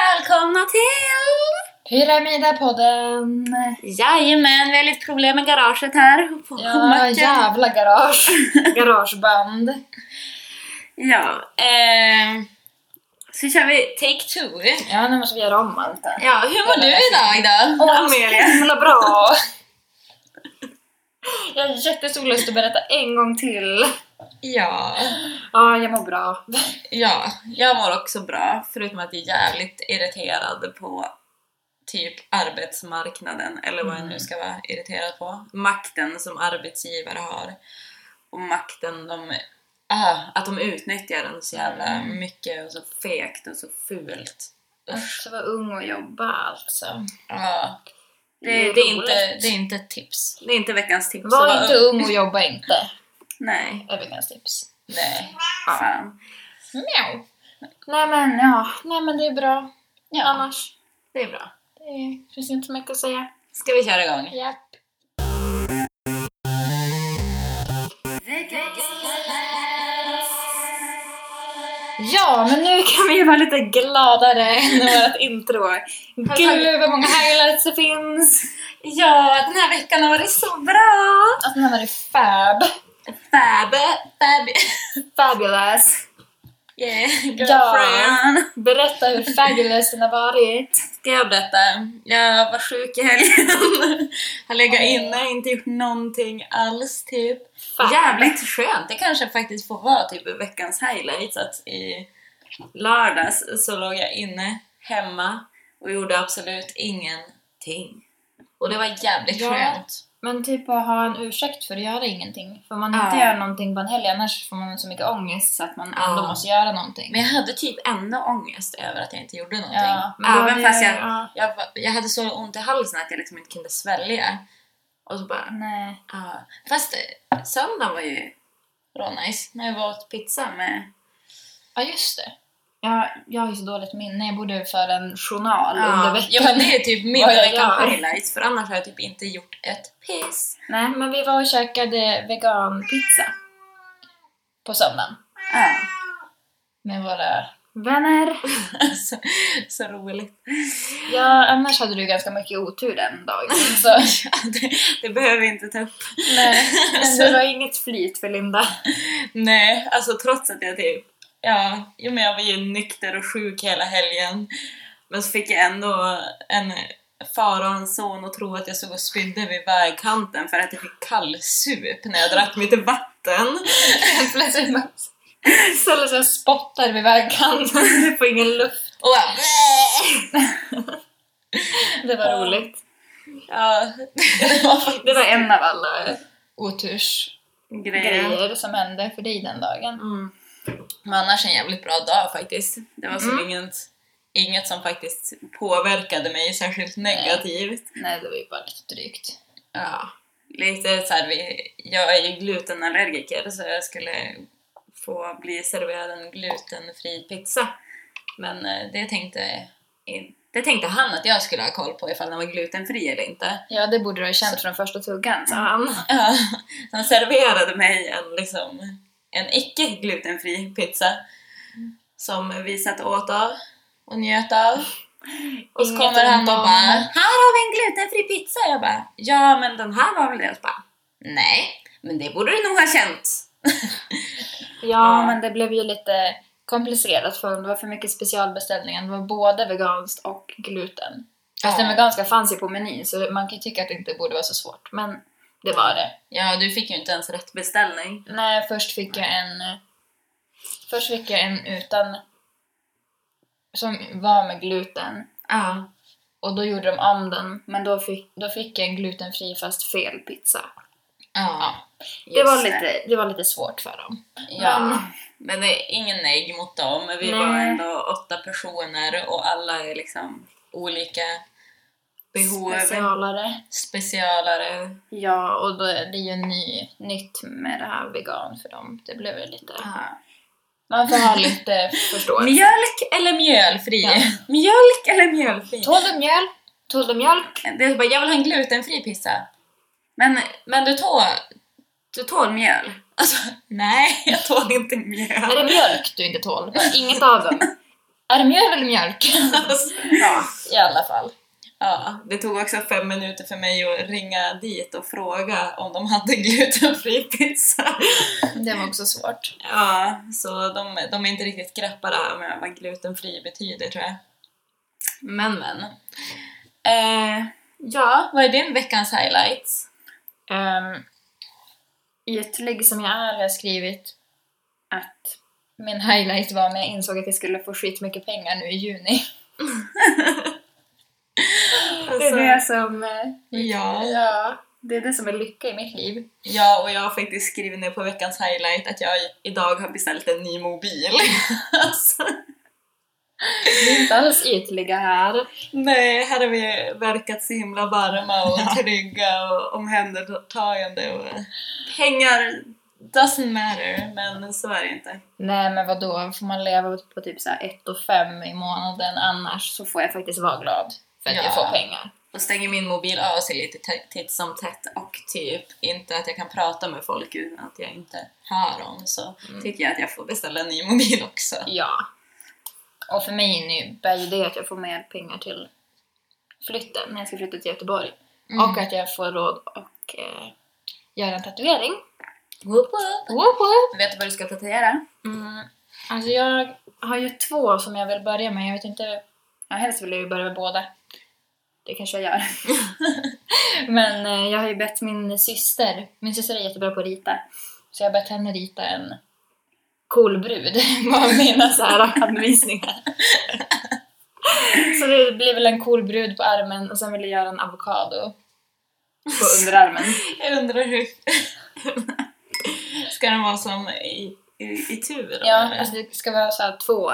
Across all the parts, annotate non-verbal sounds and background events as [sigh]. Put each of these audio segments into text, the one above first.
välkomna till... Pyramidapodden! Jajamän, vi har lite problem med garaget här. På Ja, jävla garage. [laughs] Garageband. ja eh, Så kör vi take two. Ja, nu måste vi göra om allt här. Ja, hur mår du idag då? himla bra! [laughs] Jag har jättestor lust att berätta en gång till. Ja, Ja, jag mår bra. ja, jag mår också bra. Förutom att jag är jävligt irriterad på typ arbetsmarknaden eller vad jag nu ska vara irriterad på. Makten som arbetsgivare har och makten de ah, att de utnyttjar den så jävla Mm. mycket och så fegt och så fult. Usch, vara ung och jobba alltså. Ja. Det, Det är det, är inte, roligt. det är inte ett tips. Det är inte veckans tips. att Var vara inte ung. ung och jobba inte, Nej. är veckans tips. Nej. Ja. Fan. Mjau. Nej men ja, nej men det är bra. Ja. Annars, Det är bra. det finns inte så mycket att säga. Ska vi köra igång? Japp. Ja, men nu kan vi vara lite gladare än vårt intro. Gud vad många highlights det finns! Ja, den här veckan har varit så bra! Alltså den här var det fab. Fab, fab, Fabulous. [laughs] yeah, girlfriend. Berätta hur fabulous den har varit. Ska jag berätta? Jag var sjuk i helgen. [laughs] Har legat inne, inte gjort någonting alls typ. Fan. Jävligt skönt! Det kanske faktiskt får vara typ veckans highlight. Så att i lördags så låg jag inne hemma och gjorde absolut ingenting. Och det var jävligt Ja. skönt. Men typ att ha en ursäkt för att göra ingenting. För om man inte Ja. gör någonting på en helg annars får man så mycket ångest så att man Ja. ändå måste göra någonting. Men jag hade typ ändå ångest över att jag inte gjorde någonting. Ja, men då Även hade fast jag- jag, ja. jag, var- jag hade så ont i halsen att jag liksom inte kunde svälja. Och så bara... Nej. Ja. Fast eh, söndagen var ju bra nice. När jag var åt pizza med... Ja just det. Jag, jag har ju så dåligt minne, jag borde föra en journal under Ja, veckan. ja, men det är typ min Vad jag veckans gör. highlights för annars har jag typ inte gjort ett piss. Nej, men vi var och käkade veganpizza på söndagen Ja. med våra vänner. så, så roligt. [laughs] Ja, annars hade du ganska mycket otur den [laughs] dagen. Så. det, det behöver vi inte ta upp. Nej, men det var inget flyt för [laughs] Linda. Nej, alltså trots att jag typ... Ja, jo men jag var ju nykter och sjuk hela helgen. Men så fick jag ändå en far och en son och tro att jag stod och spydde vid vägkanten för att jag fick kallsup när jag drack mitt vatten. Plötsligt bara ställer sig och spottar vid vägkanten. Du [laughs] får ingen luft. Och jag, Det var Ja. roligt. ja, [laughs] det var Det var en av alla otursgrejer grejer. som hände för dig den dagen. Mm. Men annars en jävligt bra dag faktiskt. Det var som Mm. inget, inget som faktiskt påverkade mig särskilt negativt. Nej, det var ju bara lite drygt. Ja. Lite så här, vi, jag är ju glutenallergiker så jag skulle få bli serverad en glutenfri pizza. Men eh, det tänkte, det tänkte han att jag skulle ha koll på ifall den var glutenfri eller inte. Ja, det borde du ha känt från första tuggan, sa han. Ja, [laughs] han serverade mig en, liksom, en icke glutenfri pizza som vi satt och åt av och njöt av. Och så Inget kommer han och ont om bara det. “Här har vi en glutenfri pizza!” Jag bara “Ja, men den här var väl det?” Jag bara “Nej, men det borde du nog ha känt!” Ja, Ja. men det blev ju lite komplicerat för det var för mycket specialbeställningar. Det var både veganskt och gluten. Fast Ja. den veganska fanns ju på menyn så man kan ju tycka att det inte borde vara så svårt. Men det var det. Ja, du fick ju inte ens rätt beställning. Nej, först fick jag en... Först fick jag en utan... Som var med gluten. Ja. Och då gjorde de om den. Men då fick, då fick jag en glutenfri fast fel pizza. ja. Det var, Just lite, det var lite svårt för dem. Ja, Men- men det är ingen negg mot dem. Vi Mm. Nej. var ändå åtta personer och alla är liksom olika behov, Specialare. specialare. Ja, och då, det är ju ny, nytt med det här vegan för dem. Det blev ju lite... Man får ha [laughs] lite förståelse. Ah. Mjölk eller mjölfri? Ja. [laughs] Mjölk eller mjölfri? Tål du mjöl? Tål du mjölk? Det är bara, jag vill ha en glutenfri pizza. Men, men du tål... Du tål mjöl? Alltså, [laughs] nej, jag tål inte Är mjöl. det mjölk du inte tål? Inget av dem. [laughs] Är det mjöl eller mjölk? [laughs] ja. I alla fall. Ja, det tog också fem minuter för mig att ringa dit och fråga om de hade glutenfri pizza. Det var också svårt. [laughs] Ja, så de, de är inte riktigt greppar det här med vad glutenfri betyder tror jag. Men men. Eh, ja, vad är din veckans highlights? Um, ytlig som jag är har jag skrivit att min highlight var när jag insåg att jag skulle få skitmycket pengar nu i juni. [laughs] Det Alltså, är det som... eh, Ja. ja. Det är det som är lycka i mitt liv. Ja, och jag har faktiskt skrivit ner på veckans highlight att jag idag har beställt en ny mobil. [laughs] alltså, Vi är inte alls ytliga här. nej, här har vi verkat så himla varma och trygga och omhändertagande och [laughs] pengar doesn't matter, men så är det inte. Nej men vadå, får man leva på typ så här 1 och 5 i månaden annars så får jag faktiskt vara glad för att Ja. jag får pengar. Och stänger min mobil av sig lite t- titt som tätt och typ inte att jag kan prata med folk utan att jag inte hör dem så tycker jag att jag får beställa en ny mobil också. Ja. Och för mig innebär ju det att jag får mer pengar till flytten när jag ska flytta till Göteborg. Och att jag får råd och eh, göra en tatuering. Woop woop. Vet du vad du ska tatuera? Mm. Alltså jag har ju två som jag vill börja med. Jag vet inte... Ja, helst vill jag ju börja med båda. Det kanske jag gör. [laughs] Men eh, jag har ju bett min syster, min syster är jättebra på att rita, så jag har bett henne rita en cool brud [laughs] med mina så här anvisningar. [laughs] så det blir väl en cool brud på armen och sen vill jag göra en avokado på underarmen. Jag undrar [laughs] hur... ska den vara som i, i, i tur? Ja, eller? alltså det ska vara så här två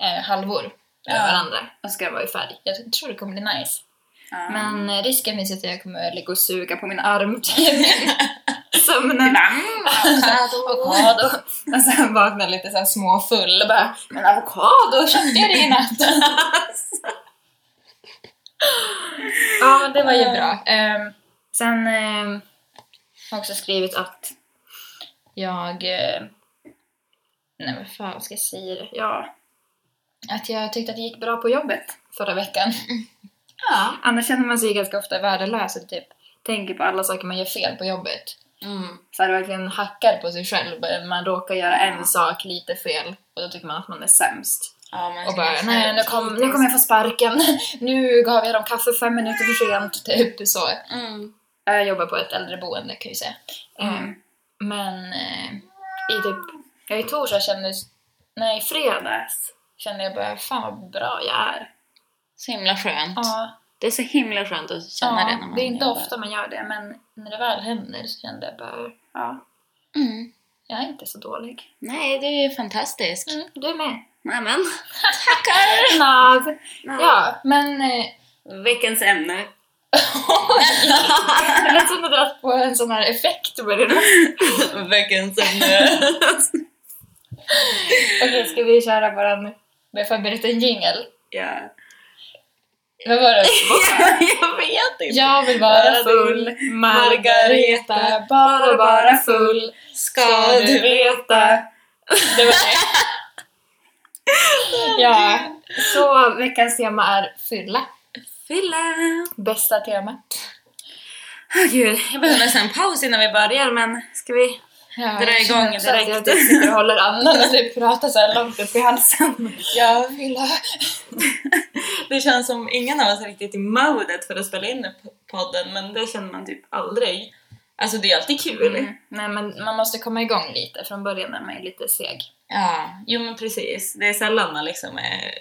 eh, halvor över Ja. varandra och ska vara i färg. Jag tror det kommer bli nice. Ja. Men eh, risken finns ju att jag kommer eh, ligga och suga på min [laughs] arm typ. Sömnen. [laughs] Avokado. [laughs] Och sen vaknar lite så här småfull och bara Men avokado köpte jag det i natt? ja men det var ju bra. Ehm, sen ehm, har jag också skrivit att jag... eh, nej vad fan ska jag säga? Ja. Att jag tyckte att det gick bra på jobbet förra veckan. ja. Annars känner man sig ju ganska ofta värdelös och typ tänker på alla saker man gör fel på jobbet. Mm. Så här, verkligen hackar på sig själv. Man råkar göra en sak lite fel och då tycker man att man är sämst. ja men Och så bara kanske- nej nu, kom, nu kommer jag få sparken. [laughs] Nu gav jag dem kaffe fem minuter för sent. [laughs] Typ så. Mm. Jag jobbar på ett äldreboende kan jag ju säga. Mm. Eh, Men eh, i typ, jag i torsdags kändes, nej i fredags kände jag bara fan vad bra jag är. Så himla skönt. Ja, Det är så himla skönt att känna det när man det är inte jobbar. ofta man gör det, men när det väl händer så kände jag bara, ja, Mm. jag är inte så dålig. Nej, du är fantastisk. Mm, du är med. Nämen. [laughs] Tackar! Nav. Ja, men... [laughs] eh, Veckans [laughs] ämne. Det lät som att du dragit på en sån här effekt på det. Veckans ämne. Okej, ska vi köra våran... Vi har förberett en jingel. [laughs] ja. Vad var det? [laughs] jag vet inte. Jag vill vara full, Margareta, bara vara full. Ska du veta? Det var det. Ja, så veckans tema är fylla. fylla? Bästa temat. Åh gud, jag behöver nästan en paus innan vi börjar men ska vi Ja, Dra jag igång känner också att direkt. Jag typ sitter och håller andan [laughs] och typ pratar så här långt upp i halsen. Ja, fylla. Det känns som ingen av oss är riktigt i modet för att spela in p- podden men det känner man typ aldrig. Alltså det är alltid kul. Mm. Nej men man måste komma igång lite från början är man ju lite seg. Ja, jo men precis. Det är sällan man liksom är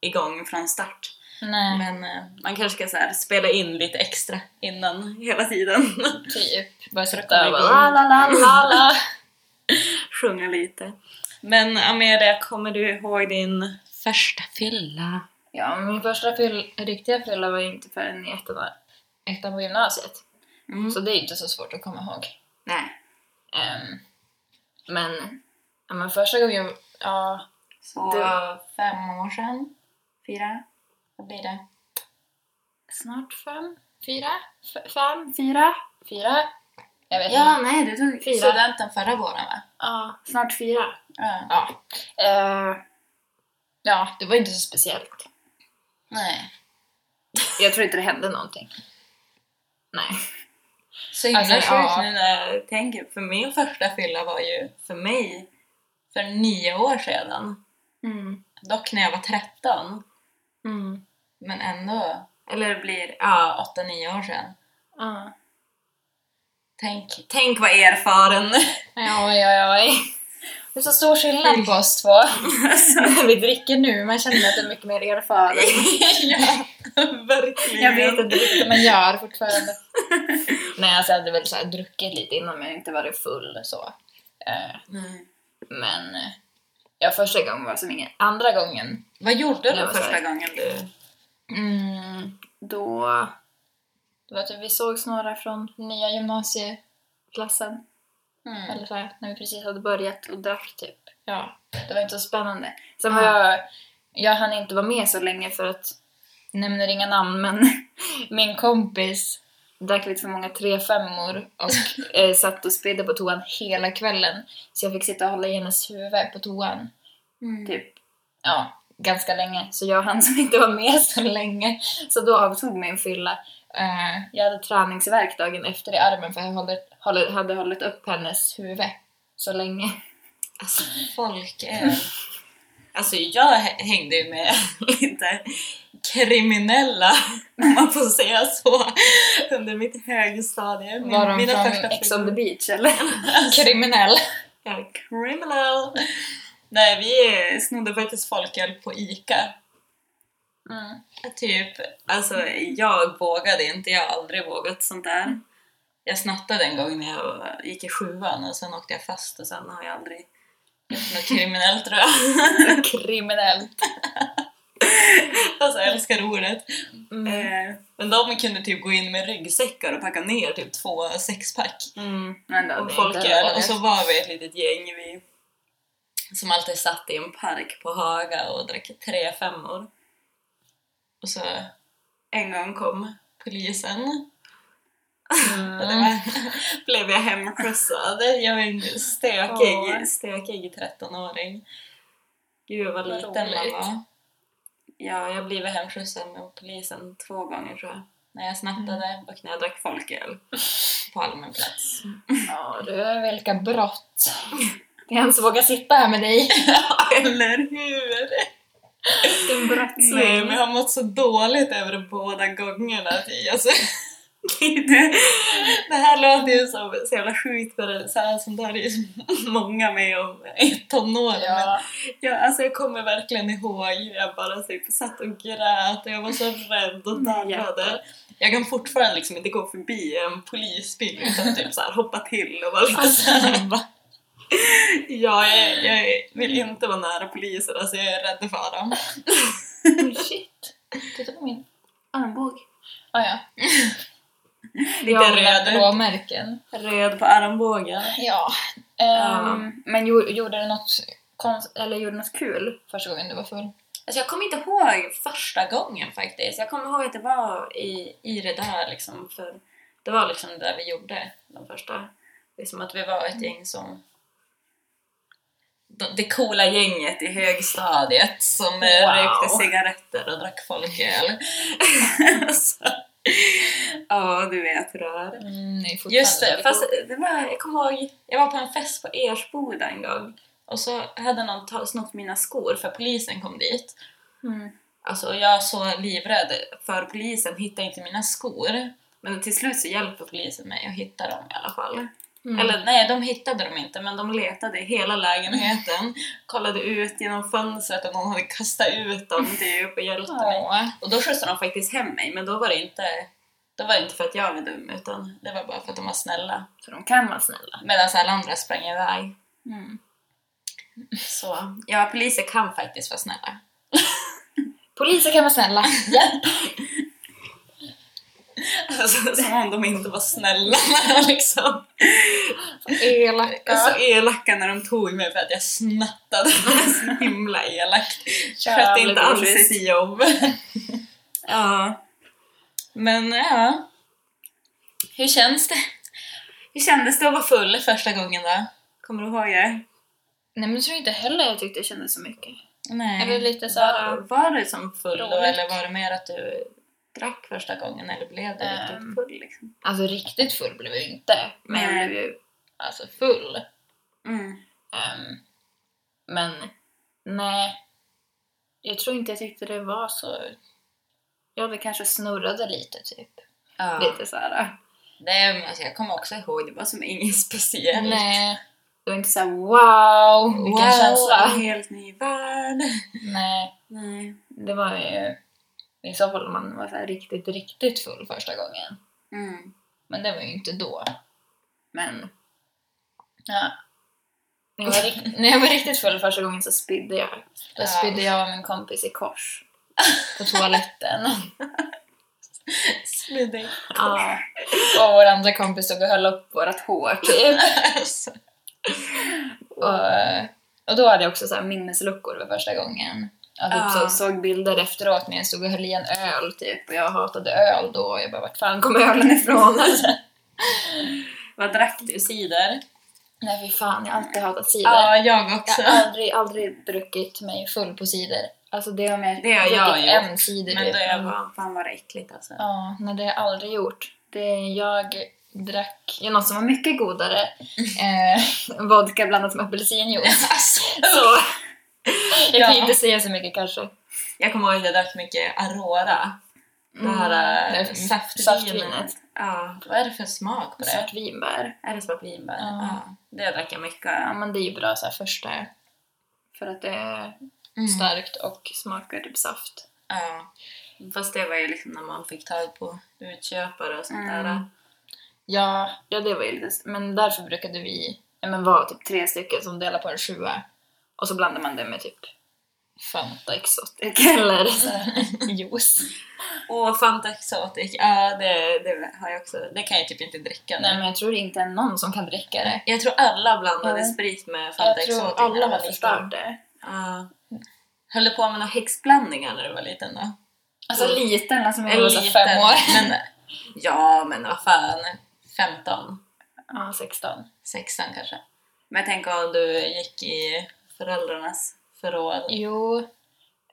igång från start. Nej, Men eh, man kanske ska så här spela in lite extra innan hela tiden. [laughs] typ. kommer Bara sitta och bara igång. la la la la la. Sjunga lite. Men Amelia, kommer du ihåg din första fylla? Ja, men min första fyll, riktiga fylla var ju inte förrän i ettan, ettan på gymnasiet. Mm. Så det är ju inte så svårt att komma ihåg. Nej. Ehm, men, ja, men första gången, ja, Så Du- fem år sedan? Fyra? Vad blir det? snart fem, fyra, f- fem, fyra, fyra. Jag vet inte. Ja, nej du tog Fyra. studenten förra våren va? Ja, snart fyra. Ja. Ja. Eh, Ja, det var inte så speciellt. Nej. Jag tror inte det hände någonting. Nej. Så himla Alltså, sjukt ja. nu när jag tänker för min första fylla var ju för mig för nio år sedan. Mm. Dock när jag var 13. Mm. Men ändå. Eller det blir ja, 8-9 år sedan. Ja. Tänk, tänk vad [laughs] erfaren! Ja, oj, oj, oj. Det är så stor skillnad på oss [laughs] två. När vi dricker nu, man känner att det är mycket mer erfaren. ja, [laughs] verkligen! Jag vet inte riktigt vad man gör fortfarande. Nej, alltså jag hade väl så här druckit lite innan men inte varit full så. Eh, Nej. Men eh, ja, första gången var som ingen. Andra gången, Vad gjorde Det du var så här. första gången du... mm, då... Det var typ, vi sågs några från nya gymnasieklassen. Mm. Eller så här, när vi precis hade börjat och drack typ. Ja, det var inte så spännande. Sen var jag, jag hann inte vara med så länge för att, nämner inga namn men, [laughs] min kompis drack lite för många trefemmor och eh, satt och spydde på toan hela kvällen. Så jag fick sitta och hålla i hennes huvud på toan, typ, ja, ganska länge. Så jag hann som inte var med så länge. Så då avtog min fylla. Eh, jag hade träningsvärk dagen efter i armen för jag hade, hade, hade hållit upp hennes huvud så länge. Alltså folk är... Alltså jag hä- hängde ju med [laughs] lite kriminella, om man får säga så, under mitt högstadie. Min, Var de från Ex on the fyllor. beach eller? [laughs] Alltså, Kriminell. ja, criminal! Nej, vi eh, snodde faktiskt folköl på ICA. [laughs] Mm. Typ, alltså jag vågade inte, jag har aldrig vågat sånt där. Jag snattade en gång när jag var- gick i sjuan och sen åkte jag fast och sen har jag aldrig gjort något kriminellt tror jag. [laughs] Kriminellt. Alltså jag älskar ordet. Mm. Eh, Men de kunde typ gå in med ryggsäckar och packa ner typ två sexpack Mm. Men då, och folköl och så var vi ett litet gäng vi, som alltid satt i en park på Haga och drack tre femmor. Och så en gång kom polisen Och det Mm. var, [laughs] blev jag hemskjutsad. Jag var en Åh. stökig, stökig 13-åring. Gud vad Vad liten man roligt. var. Ja, jag blev hemskjutsad med polisen två gånger tror jag. När jag snattade och när jag drack folköl på allmän plats. Ja du, vilka [laughs] brott. Det är han som vågar sitta här med dig. Eller hur? Vilken Nej, Mm. men jag har mått så dåligt över det båda gångerna. att jag- [laughs] Alltså, det, det här låter ju som så jävla sjukt, för det, så här som det här är ju så många med om i tonåren. men Ja. Jag, alltså jag kommer verkligen ihåg hur jag bara typ, satt och grät och jag var så rädd och darrade. Jag kan fortfarande liksom inte gå förbi en polisbil utan typ så här hoppa till och vara lite så här, va? Ja, jag, jag vill inte vara nära poliser, alltså jag är rädd för dem. Oh, shit. Titta på min armbåge. Ah, ja. Lite röd. blåmärken. Röd på armbågen. Ja. Ehm, Ja. Men gjo- gjorde du något konst, eller gjorde något kul första gången du var full? Alltså jag kommer inte ihåg första gången faktiskt. Jag kommer ihåg att det var i, i det där liksom. För det var liksom det där vi gjorde de första. Liksom att vi var ett gäng som... de- Det coola gänget i högstadiet som wow. Wow. rökte cigaretter och drack folköl. [laughs] Så- Ja, du vet hur det är. Mm, nej, fortfarande. Just det, fast det var, jag kommer ihåg, jag var på en fest på Ersboda en gång och så hade någon ta- snott mina skor för polisen kom dit. Mm. Alltså jag är så livrädd för polisen, hittar inte mina skor. Men till slut så hjälper polisen mig att hitta dem i alla fall. Mm. Eller nej, de hittade dem inte, men de letade i hela lägenheten, [laughs] kollade ut genom fönstret och någon hade kastat ut dem typ och hjälpte mig. Ja. Och då skjutsade de faktiskt hem mig, men då var det inte då var det inte för att jag var dum, utan det var bara för att de var snälla. Så de kan vara snälla. Medan alla andra sprang iväg. Mm. Så ja, poliser kan faktiskt vara snälla. Poliser kan vara snälla. Alltså, som om de inte var snälla [laughs] liksom. [laughs] Elaka. Så elaka när de tog mig för att jag snattade. [laughs] så himla elakt. Skötte Jävligt inte alls oschysst. sitt jobb. [laughs] ja. Men ja. Hur känns det? Hur kändes det att vara full första gången då? Kommer du ihåg det? Nej men jag tror inte heller jag tyckte jag kände så mycket. Nej. Eller lite så här- Var, var du som full då Roligt. eller var det mer att du drack första gången eller blev du riktigt Ehm. full liksom? Alltså riktigt full blev jag inte, men jag Nej. blev ju alltså full. Mm. Ehm, men nej, jag tror inte jag tyckte det var så... Ja, det kanske snurrade lite typ. Ja. Lite såhär. Nej, men alltså, jag kommer också ihåg, det var som [laughs] inget speciellt. Nej. Det var inte såhär wow, vilken Wow, en känsla. helt ny värld. Nej, Nej. det var ju... I så fall om man var så här riktigt, riktigt full första gången. Mm. Men det var ju inte då. Men... Ja. När jag var, rikt- när jag var riktigt full första gången så spydde jag. Då Ja. spydde jag och min kompis i kors. [laughs] På toaletten. Smidigt. Ja. Och vår andra kompis stod och höll upp vårt hår [laughs] typ. Alltså. Och, och då hade jag också så här minnesluckor för första gången. Jag typ Ja. så, såg bilder efteråt när jag stod och höll i en öl typ. Och jag hatade öl då och jag bara vart fan kom ölen [laughs] ifrån? Vad drack du? Cider? Nej fy fan, jag har alltid hatat cider. Ja, jag också. Jag har Alltså, aldrig, aldrig druckit mig full på cider. Alltså det har jag, Det har jag druckit gjort. en cider Men typ. då är jag Mm. bara, fan vad det är äckligt alltså. Ja, nej det har jag aldrig gjort. Det jag drack ju något som var [laughs] mycket godare. Eh, vodka blandat [laughs] med apelsinjuice. Så, jag kan Alltså. Ja. inte säga så mycket kanske. Jag kommer ihåg att jag drack mycket Aurora. Det här Mm, äh, det är saftvinet. saftvinet. Ja. Vad är det för smak på det? Svart vinbär. Är det svart vinbär? Ja. Ja. Det drack jag mycket. Ja men det är ju bra så här första. För att det är Starkt. starkt och smakar typ saft. Mm. Ja. Fast det var ju liksom när man fick tag på utköpare och sånt Mm. där. Ja, ja det var ju lite... Men därför brukade vi ja, men vara typ tre stycken som delade på en sjua. Och så blandade man det med typ Fanta Exotic eller så här [laughs] juice. Och Fanta Exotic, ja det, det har jag också. Det kan jag typ inte dricka nu. Nej men jag tror inte är någon som kan dricka det. Jag tror alla blandade Mm. sprit med Fanta Jag Exotic. tror när alla jag har liten. förstört det. Ja. Höll du på med några häxblandningar när du var liten då? Alltså liten, alltså Eller jag var så här fem år. Men, [laughs] ja, men vad fan. 15, [laughs] Ja, 16. 16 kanske. Men tänk om du gick i föräldrarnas förråd. Jo,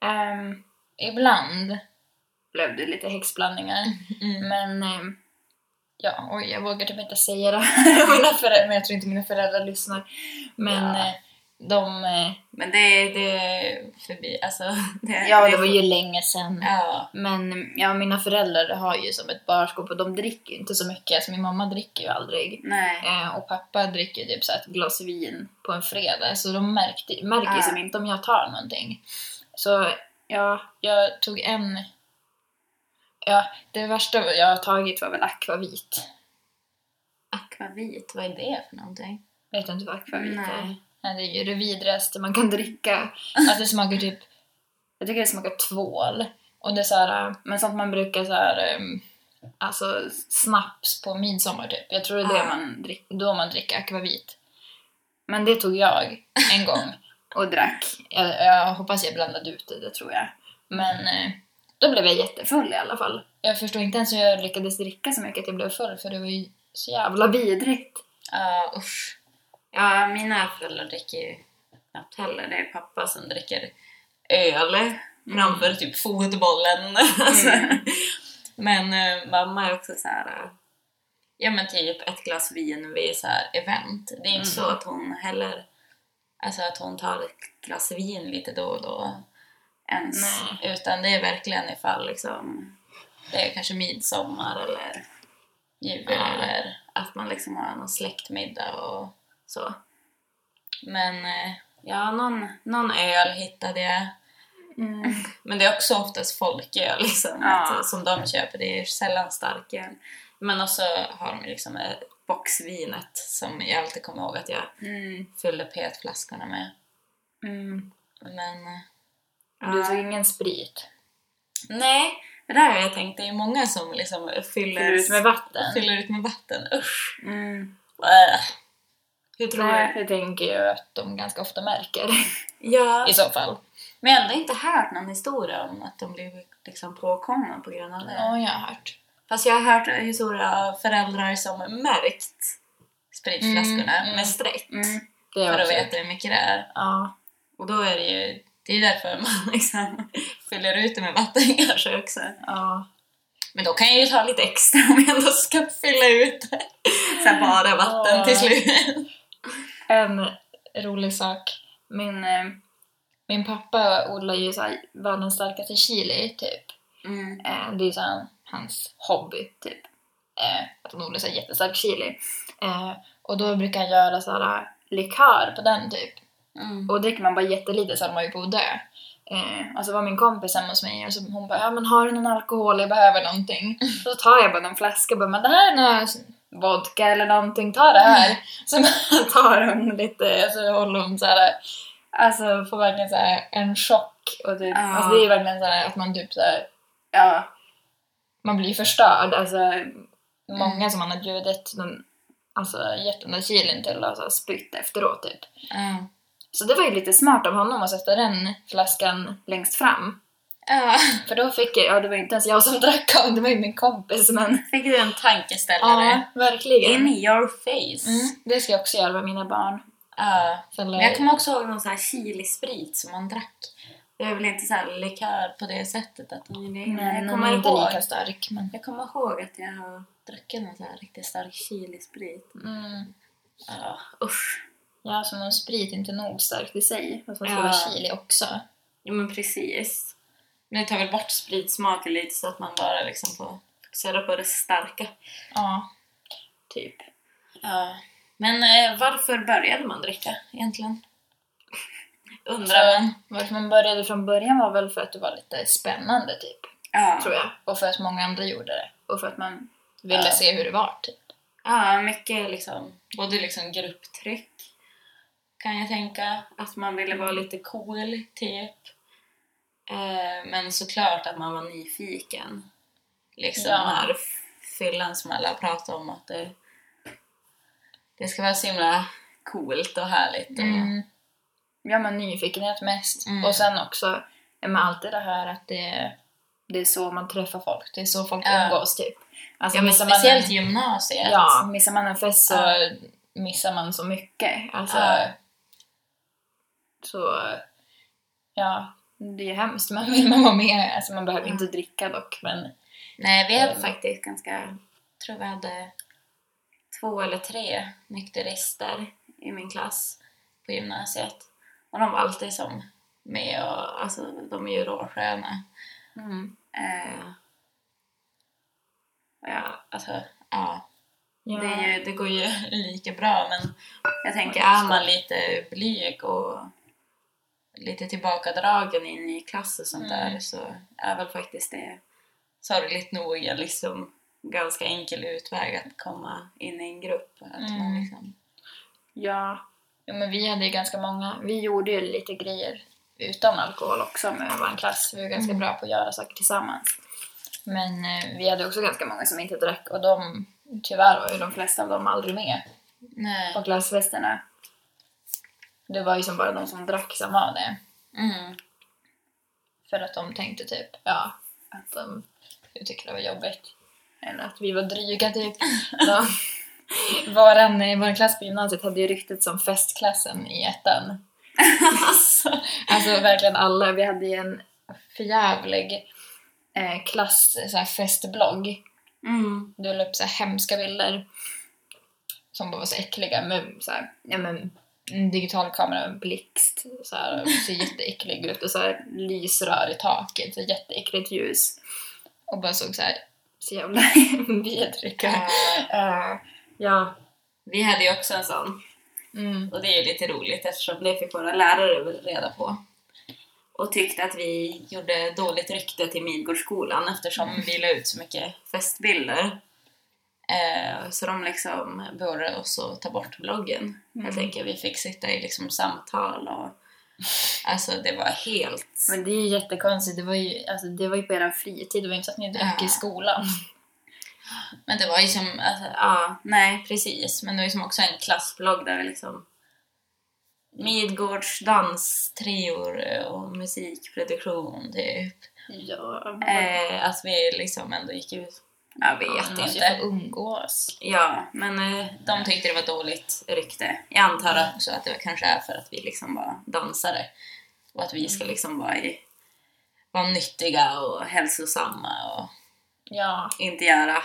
ehm, ibland blev det lite häxblandningar. Men ehm, ja, oj, jag vågar typ inte säga det här. [laughs] mina föräldrar, men jag tror inte mina föräldrar lyssnar. Men Ja. eh, de... eh, Men det, det är förbi. Alltså, [laughs] det, Ja, det var ju länge sedan. Ja. Men ja, mina föräldrar har ju som ett barskåp och de dricker ju inte så mycket. Alltså, min mamma dricker ju aldrig. Nej. Eh, och pappa dricker ju typ så här ett glas vin på en fredag, så de märkte, märker ju Ah. som inte om jag tar någonting. Så ja, jag tog en... Ja, det värsta jag har tagit var väl akvavit. Akvavit, vad är det för någonting? Vet du inte vad akvavit är? Nej. Nej, det är ju det vidrigaste man kan dricka. Alltså det smakar typ... Jag tycker det smakar tvål. Och det är så här, äh, men sånt man brukar så här, ehm, alltså snaps på midsommar typ. Jag tror det är det Ah. man drick, då man dricker akvavit. Men det tog jag en gång [laughs] och drack. Jag, jag hoppas jag blandade ut det, det tror jag. Men eh, då blev jag jättefull i alla fall. Jag förstår inte ens hur jag lyckades dricka så mycket att jag blev full för det var ju så jävla vidrigt. Ja, usch. Ja, mina föräldrar dricker ju knappt heller. Det är pappa som dricker öl framför Mm. typ fotbollen. [laughs] Alltså. Men eh, mamma är också så här. eh, Ja men typ ett glas vin vid så här event. Det är inte Mm. så att hon heller, alltså att hon tar ett glas vin lite då och då ens. Utan det är verkligen ifall liksom det är kanske midsommar eller jul eller att man liksom har någon släktmiddag och så. Men eh, ja, någon, någon öl hittade jag. Mm. Men det är också oftast folköl liksom, Ja. att, som de köper. Det är sällan starköl. Men också har de liksom eh, boxvinet som jag alltid kommer ihåg att jag Mm. fyllde petflaskorna med. Mm. Men... eh, Du ja. tog ingen sprit? Nej, det där har jag tänkt. Det är många som liksom fyller, Fyller ut med vatten? fyller ut med vatten. Usch! Mm. Äh. Hur tror Nej, du? det tänker jag att de ganska ofta märker [laughs] Ja. i så fall. Men jag har ändå inte hört någon historia om att de blev liksom påkomna på grund av det. Ja, jag har hört. Fast jag har hört historier av föräldrar som märkt spritflaskorna Mm, mm. med streck Det för har jag att också veta hur mycket det är. Ja. Och då är det ju Det är därför man [laughs] liksom fyller ut det med vatten [laughs] kanske också. Ja. Men då kan jag ju ta lite extra om jag ändå ska fylla ut det. Så här bara vatten Ja. till slut. En rolig sak. Min, eh, min pappa odlar ju så här världens starkaste chili, typ. Mm. Eh, det är så här, hans hobby, typ. Eh, att han odlar så här jättestark chili. Eh, och då brukar han göra så här eh, likör på den, typ. Mm. Och dricker man bara jättelite så hade man ju på att dö. Eh, och så var min kompis hemma hos mig och så hon bara ja men har du någon alkohol, jag behöver någonting. Mm. Och så tar jag bara någon flaska och bara men det här är någon vodka eller någonting, ta det här. Mm. [laughs] Så man tar hon lite, så håller hon så här. alltså får verkligen så här en chock. Och typ, Ja. alltså, det är ju verkligen så här att man typ så här, ja, man blir förstörd. Alltså Mm. många som man har bjudit, de, alltså gett den där kilin till och så har spytt efteråt typ. Ja. Så det var ju lite smart av honom att sätta den flaskan längst fram. Ja. För då fick jag, ja det var inte ens jag som drack av det var ju min kompis men... Fick du en tankeställare? Ja, In verkligen. your face! Mm, det ska jag också göra med mina barn. Ja. Eller, Men jag kommer också ihåg någon sån här chilisprit som man drack. Det är väl inte så här likör på det sättet att man det. Nej, jag någon kommer är inte ihåg. lika stark men... Jag kommer ihåg att jag har druckit någon sån här riktigt stark chilisprit. Mm, Ja, usch. ja, som om sprit inte är nog starkt i sig. Och så ska Ja. vara chili också. Jo men precis. Men det tar väl bort spritsmaken lite så att man bara liksom får fokusera på det starka. Ja. Typ. Ja. Men eh, varför började man dricka [laughs] egentligen? Undrar man. Så, varför man började från början var väl för att det var lite spännande typ. Ja. Tror jag. Och för att många andra gjorde det. Och för att man ville Ja. se hur det var typ. Ja, mycket liksom, både liksom grupptryck kan jag tänka. Att man ville vara lite cool, typ. Eh, men såklart att man var nyfiken. Liksom Ja. den här fyllan som alla pratar om att det, det ska vara så himla coolt och härligt. Och, Mm. Ja, men nyfikenhet mest. Mm. Och sen också, ja, men alltid det här att det, det är så man träffar folk. Det är så folk Ja. umgås typ. Alltså, ja, men missar speciellt man gymnasiet. en, Ja, missar man en fest så Ja. missar man så mycket. Alltså, Ja. Så, ja, det är hemskt. Man vill man vara med. Alltså, man behöver inte dricka dock, men Nej, vi hade Mm. faktiskt ganska... tror vi hade två eller tre nykterister i min klass på gymnasiet. Och de var alltid som med och alltså, de är ju råsköna. Eh, ja, alltså, ja. ja. Det, är ju, det går ju [laughs] lika bra men jag tänker är man lite blyg och lite tillbakadragen in i klass och sånt Mm. där så är väl faktiskt det sorgligt nog en liksom ganska enkel utväg att komma in i en grupp. Att man Mm. liksom, Ja. Jo, men vi hade ju ganska många. Vi gjorde ju lite grejer utan alkohol också med vår klass. Vi var ganska Mm. bra på att göra saker tillsammans. Men eh, vi hade också ganska många som inte drack och de, tyvärr var ju de flesta av dem aldrig med nej. på klassfesterna. Det var ju som bara de som drack som var det. Mm. För att de tänkte typ, ja, att de tyckte det var jobbigt. Eller att vi var dryga typ. De, våran, eh, våran klass på gymnasiet hade ju ryktet som festklassen i ettan. alltså, Alltså verkligen alla. Vi hade ju en förjävlig eh, klass så här, festblogg. mm. Du la upp typ så här, hemska bilder som bara var så äckliga med så här, ja, men, en digital kamera med blixt. Så här, ser jätteäcklig ut och så här, lysrör i taket. Så jätteäckligt ljus. Och bara såg så här så jävla [laughs] vidrig ut. Ja. Eh, Ja. [laughs] Vi hade ju också en sån Mm. Och det är ju lite roligt eftersom det fick våra lärare väl reda på. Och tyckte att vi gjorde dåligt rykte till Midgårdsskolan eftersom vi la ut så mycket festbilder. Eh, så de liksom beordrade oss att ta bort bloggen. Jag Mm. tänker vi fick sitta i liksom samtal och alltså det var helt... Men det är ju jättekonstigt. Det var ju, alltså, det var ju på er fritid. Det var ju inte så att ni drack Ja. i skolan. Men det var ju som, alltså, ja, nej precis. Men det var ju som också en klassblogg där vi liksom Midgårds danstreor och musikproduktion typ. Ja. Eh, att vi liksom ändå gick ut. Jag vet Man inte. får umgås. Ja, men eh, de tyckte det var dåligt rykte. Jag antar också att det kanske är för att vi liksom var dansare. Och att vi ska liksom vara, i, vara nyttiga och hälsosamma och Ja, inte göra,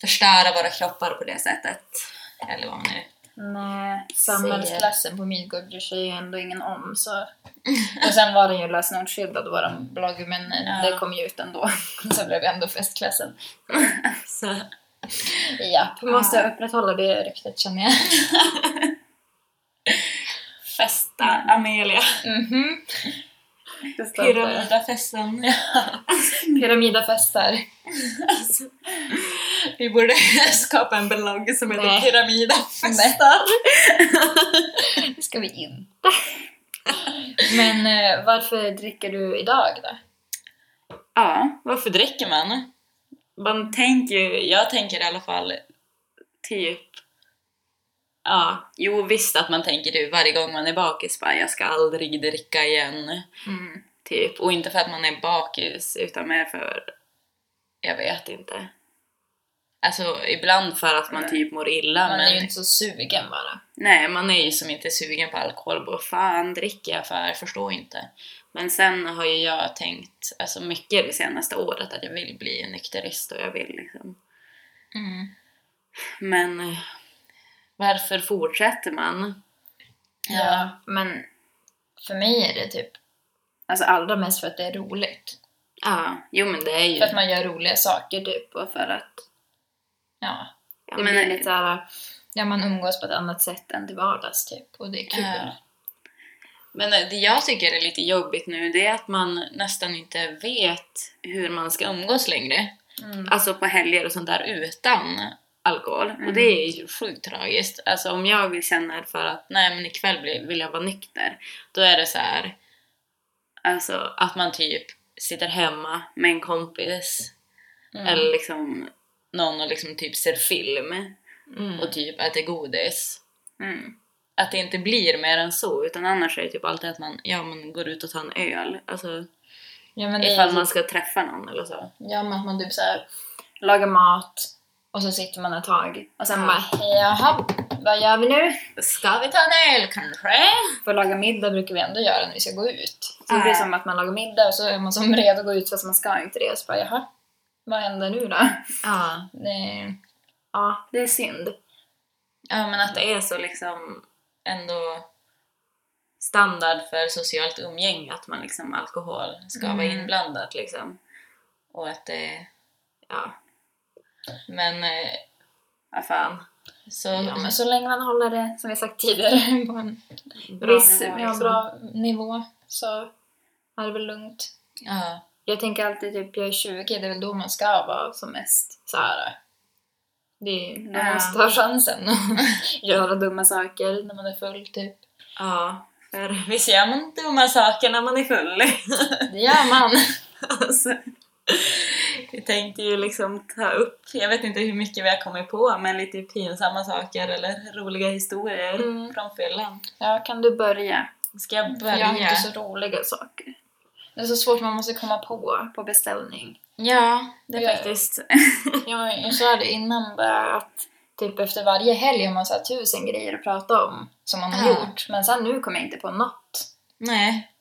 förstöra våra kroppar på det sättet. Eller vad man nu... nej. Samhällsklassen på Midgård bryr sig ju ändå ingen om. Så. [laughs] Och sen var den ju lösenordsskyddad, vår blogg, men eh, Ja. det kom ju ut ändå. [laughs] Så blev det ändå festklassen. Så, Ja, vi måste upprätthålla det ryktet känner jag. Mm. festa Amelia! Mhm. Pyramidafesten! Pyramidafester. Alltså, vi borde [laughs] skapa en blogg som heter Nej. Pyramidafestar. [laughs] Det ska vi inte. Men eh, varför dricker du idag då? Ja, varför dricker man? Man tänker ju, jag tänker i alla fall typ... Ja, jo visst att man tänker det varje gång man är bakis bara jag ska aldrig dricka igen. Mm. Typ. Och inte för att man är bakis utan mer för... Jag vet inte. Alltså ibland för att man typ mår illa Man men... är ju inte så sugen bara. Nej, man är ju som inte sugen på alkohol. Vad fan dricker jag för? Jag förstår inte. Men sen har ju jag tänkt alltså mycket det senaste året att jag vill bli nykterist och jag vill liksom. Mm. Men eh, varför fortsätter man? Ja. men för mig är det typ alltså allra mest för att det är roligt. Ja, jo men det är ju... För att man gör roliga saker typ och för att ja, Ja, det men, blir lite såhär, ja man umgås på ett annat sätt än till vardags typ och det är kul. Ja. men eh, det jag tycker är lite jobbigt nu det är att man nästan inte vet hur man ska umgås längre. Mm. alltså på helger och sånt där utan alkohol. Och det är Mm. ju sjukt tragiskt. Alltså om jag känner för att nej men ikväll blir- vill jag vara nykter. Då är det så här. Alltså att man typ sitter hemma med en kompis. Mm. Eller liksom någon och liksom typ ser film. Mm. Och typ äter godis. Mm. Att det inte blir mer än så. Utan annars är det typ alltid att man, ja, man går ut och tar en öl. Alltså Ja men det är ifall ju man ska träffa någon eller så. Ja, men att man typ såhär lagar mat och så sitter man ett tag och sen Ja. bara "Hej, jaha, vad gör vi nu? Ska vi ta en öl kanske? För att laga middag brukar vi ändå göra när vi ska gå ut. Så det Ja. blir som att man lagar middag och så är man som [laughs] redo att gå ut fast man ska inte det. Så bara jaha, vad händer nu då? [laughs] Ja. Det, ja, det är synd. Ja, men att det är så liksom ändå standard för socialt umgänge att man liksom alkohol ska vara Mm. inblandat liksom. Och att det... Ja. Men... eh, Ja, fan. Så... Ja, men så länge man håller det, som vi sagt tidigare, [laughs] på en Bra viss nivå, ja, liksom. bra nivå så är det väl lugnt. Ja. Jag tänker alltid typ jag är 20, det är väl då man ska vara som mest såhär. Det är då Ja. man tar chansen att [laughs] göra dumma saker när man är full [laughs] typ. ja. För visst gör man dumma saker när man är full? [laughs] Det gör man! alltså, vi tänkte ju liksom ta upp, jag vet inte hur mycket vi har kommit på, men lite pinsamma saker eller roliga historier Mm. från fyllan. Ja, kan du börja? Ska jag För jag har börja? inte så roliga saker. Det är så svårt, man måste komma på [laughs] på beställning. Ja, det Ja. är faktiskt... Jag, jag sa det innan bara att typ efter varje helg har man så här tusen grejer att prata om som man Ja. har gjort. Men sen nu kommer jag inte på något. Nej.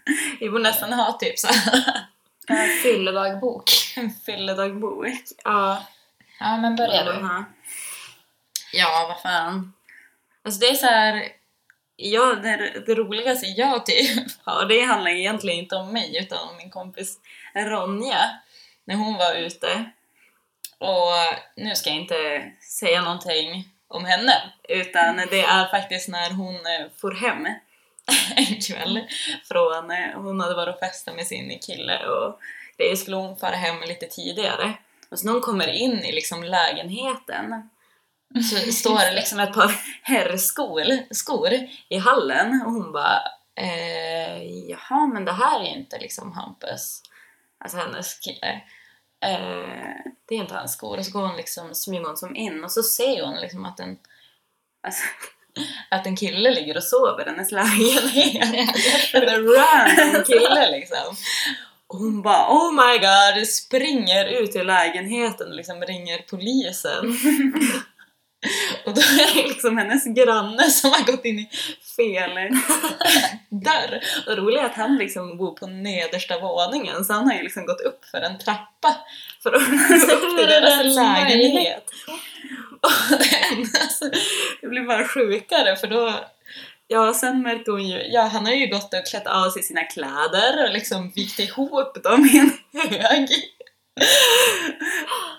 [laughs] Vi borde nästan ha typ så här [laughs] Jag har en Fylledagbok. en fylledagbok. Ja. Ja, men börja du. Ja, vad fan. Alltså det är så här... Ja, det, det roligaste jag typ [laughs] har, det handlar egentligen inte om mig utan om min kompis Ronja. När hon var ute. Och nu ska jag inte säga någonting om henne. Utan det är faktiskt när hon eh, for hem [laughs] en kväll från, eh, hon hade varit och festat med sin kille och det skulle hon fara hem lite tidigare. Och så när hon kommer in i liksom lägenheten så står det liksom ett par herrskor skor i hallen och hon bara eh, jaha men det här är inte liksom Hampus, alltså hennes kille. Eh, det är inte hans skor och så går hon liksom smyger hon som in och så ser hon liksom att en alltså, [laughs] att en kille ligger och sover i hennes lägenhet. [laughs] en random kille liksom. Och hon bara oh my [laughs] god, springer ut ur lägenheten och liksom ringer polisen. Och då är det liksom hennes granne som har gått in i [laughs] fel dörr. Och det roliga är att han liksom bor på nedersta våningen så han har ju liksom gått upp för en trappa för att [laughs] gå upp till deras lägenhet. Och [laughs] det, enda, alltså, det blir bara sjukare för då Ja, sen märkte hon ju, ja han har ju gått och klätt av sig sina kläder och liksom vikt ihop dem i en hög.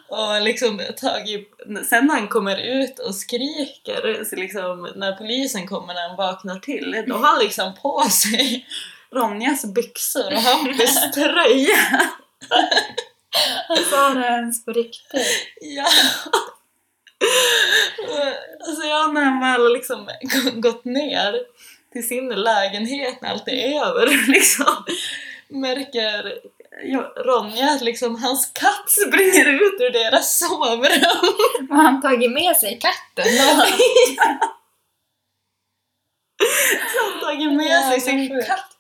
Och liksom tagit, sen när han kommer ut och skriker, så liksom, när polisen kommer när han vaknar till, då har han liksom på sig Ronjas byxor och Hampus tröja. Han sa det ens på riktigt. Ja. [laughs] Alltså jag när han väl liksom gått ner till sin lägenhet när allt är över [laughs] liksom märker jag- Ronja att liksom hans katt springer ut ur deras sovrum. Och han tagit med sig katten då. Han har tagit [laughs] med sig sin katt.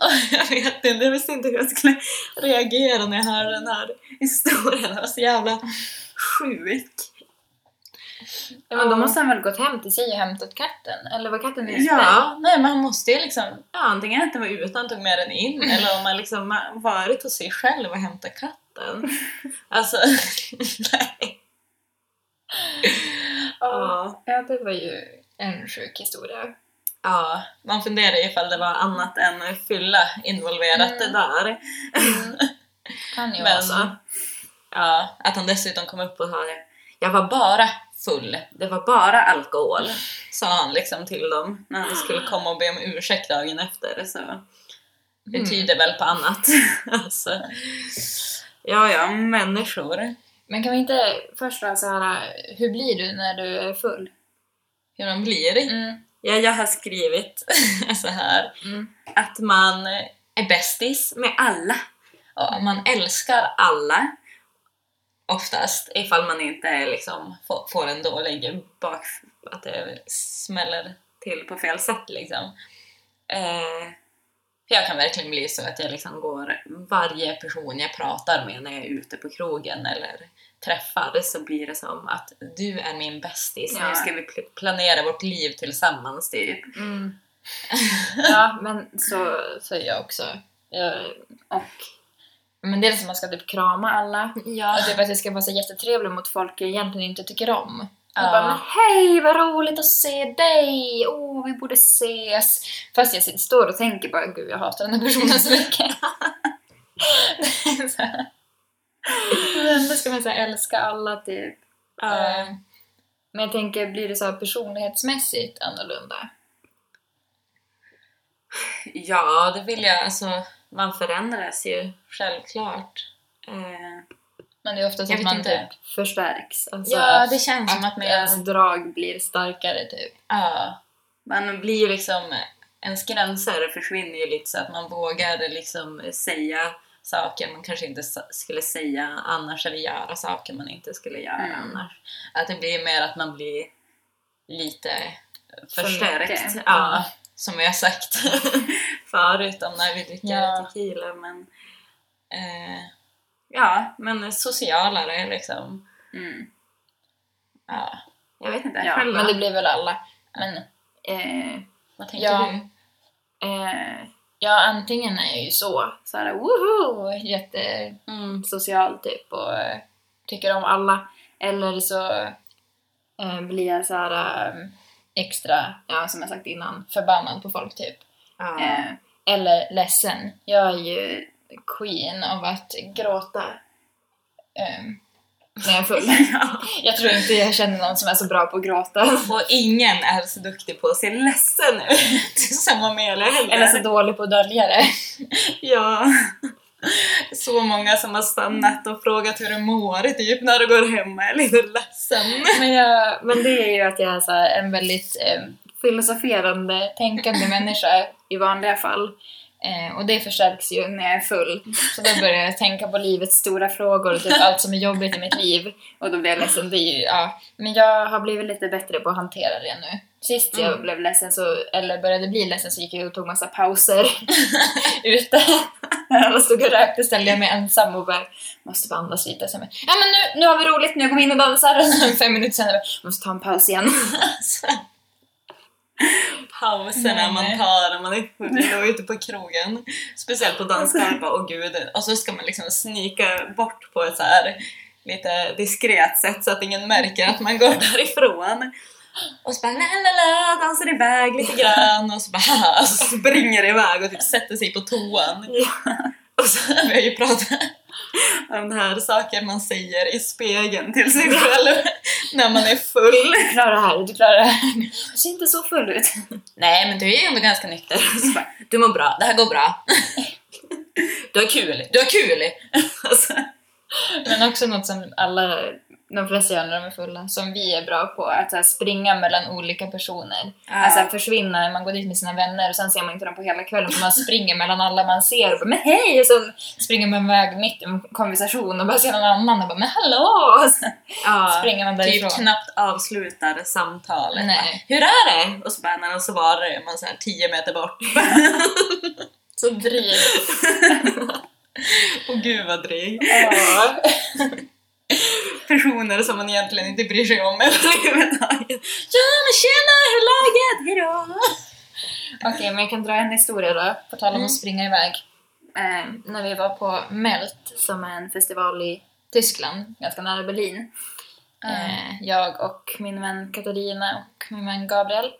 Och jag vet inte, jag visste inte hur jag skulle reagera när jag hörde den här historien. Den var så jävla sjuk. Ja, men då måste han väl gått hem till sig och hämtat katten? Eller var katten utspänd? Ja, nej men han måste ju liksom, ja, antingen att den var ute och tog med den in eller om han liksom har varit hos sig själv och hämtat [laughs] katten. Alltså, nej. Ja. ja, det var ju en sjuk historia. [laughs] ja, man funderar ju ifall det var annat än fylla involverat det Mm. där. Kan ju vara Men, så. alltså, ja, att han dessutom kom upp och sa det. Jag var bara full, det var bara alkohol, sa han liksom till dem när han [gasps] skulle komma och be om ursäkt dagen efter. Så det Mm. tyder väl på [laughs] annat. alltså. Ja, ja, människor. Men kan vi inte först vara så här, hur blir du när du är full? Hur de blir. Mm. Ja, jag har skrivit [laughs] så här Mm. att man är bästis med alla. Och man älskar alla. Oftast, ifall man inte är liksom, får, får en dålig bak... Att det smäller till på fel sätt liksom. Eh, för jag kan verkligen bli så att jag liksom går... Varje person jag pratar med när jag är ute på krogen eller träffar så blir det som att du är min bästis, nu Ja. ska vi pl- planera vårt liv tillsammans typ. Mm. Ja, men så, så är jag också. Jag, och, men det är som att man ska typ krama alla. Ja. Och typ att jag ska vara så jättetrevlig mot folk jag egentligen inte tycker om. Ja. Jag bara, men hej vad roligt att se dig! Åh, oh, vi borde ses! Fast jag sitter- står och tänker bara, gud jag hatar den här personen så mycket. [laughs] Det är så här. men ändå ska man så här älska alla typ. Ja. Eh, Men jag tänker, blir det så här personlighetsmässigt annorlunda? Ja, det vill jag. Alltså, man förändras ju självklart. Eh, Men det är oftast Jag att vet man inte. typ förstärks. Alltså ja, att, det känns som att man är... ens drag blir starkare typ. Ja. Man blir ju liksom... Ens gränser försvinner ju lite så att man vågar liksom säga saker man kanske inte s- skulle säga annars eller göra saker man inte skulle göra Mm. annars. Att det blir mer att man blir lite För förstärkt. mycket. ja, som vi har sagt [laughs] förut om när vi dricker Ja. tequila. Men, eh, ja, men socialare liksom. Mm. Ja. Jag vet inte, Ja, men det blir väl alla. Men, eh, Vad tänkte Ja. du? eh, ja, antingen är jag ju så, så här, woho, jättesocial typ och eh, tycker om alla. Eller så eh, blir jag så här eh, extra, ja, som jag sagt innan, förbannad på folk typ. Ja. Eh, eller ledsen. Jag är ju queen av att gråta. Eh, när jag är full. jag tror inte jag känner någon som är så bra på att gråta. Och ingen är så duktig på att se ledsen [laughs] ut. Samma med eller heller. Eller så dålig på att dölja det. Ja. Så många som har stannat och frågat hur du mår typ när du går hem eller är du ledsen. Men, jag, men det är ju att jag är så här, en väldigt eh, filosoferande, tänkande människa i vanliga fall. Eh, och det förstärks ju när jag är full. Så då börjar jag tänka på livets stora frågor och typ allt som är jobbigt i mitt liv. Och då blir jag ledsen. Det är ju, ja. Men jag har blivit lite bättre på att hantera det nu. Sist jag Mm. blev ledsen, så, eller började bli ledsen, så gick jag och tog massa pauser [laughs] ute. När alla stod och rökte ställde jag mig ensam och bara måste bara andas lite. Sen bara, ja men nu, nu har vi roligt, nu går vi in och dansar. [laughs] Och sen fem minuter senare bara, måste ta en paus igen. [laughs] Alltså. Pauserna Nej. man tar när man är full och ute på krogen. Speciellt på Alltså. dansgolv, bara, åh gud. Och så ska man liksom snika bort på ett så här lite diskret sätt så att ingen märker att man [laughs] går därifrån. Och så bara la la la, dansar iväg lite grann och så bara haha, så springer iväg och typ sätter sig på toan. Och så har vi ju pratat om det här saker man säger i spegeln till sig [laughs] själv när man är full. Du klarar det här, du klarar det här. Du ser inte så full ut. [laughs] Nej men du är ju ändå ganska nykter. [laughs] Så bara, du mår bra, det här går bra. Du har kul, du har kul! Alltså, Men också något som alla, de flesta gör när de är fulla, som vi är bra på, att så här, springa mellan olika personer. Ja. Alltså att försvinna, man går dit med sina vänner och sen ser man inte dem på hela kvällen för man springer mellan alla man ser och bara, men hej! Och så springer man iväg mitt i en konversation och bara ser någon annan och bara men hallå! Och så ja, springer man därifrån. Typ knappt avslutar samtalet. Nej. Hur är det? Och så bara, när så var man så här 10 meter bort. [laughs] Så dryg. Och gud vad dryg. Personer som man egentligen inte bryr sig om [laughs] överhuvudtaget. Ja men tjena, hur är läget? Hejdå! Okej, men jag kan dra en historia då, på tal om Mm. att springa iväg. Eh, när vi var på Melt, som är en festival i Tyskland, ganska nära Berlin. Mm. Eh, jag och min vän Katarina och min vän Gabriel.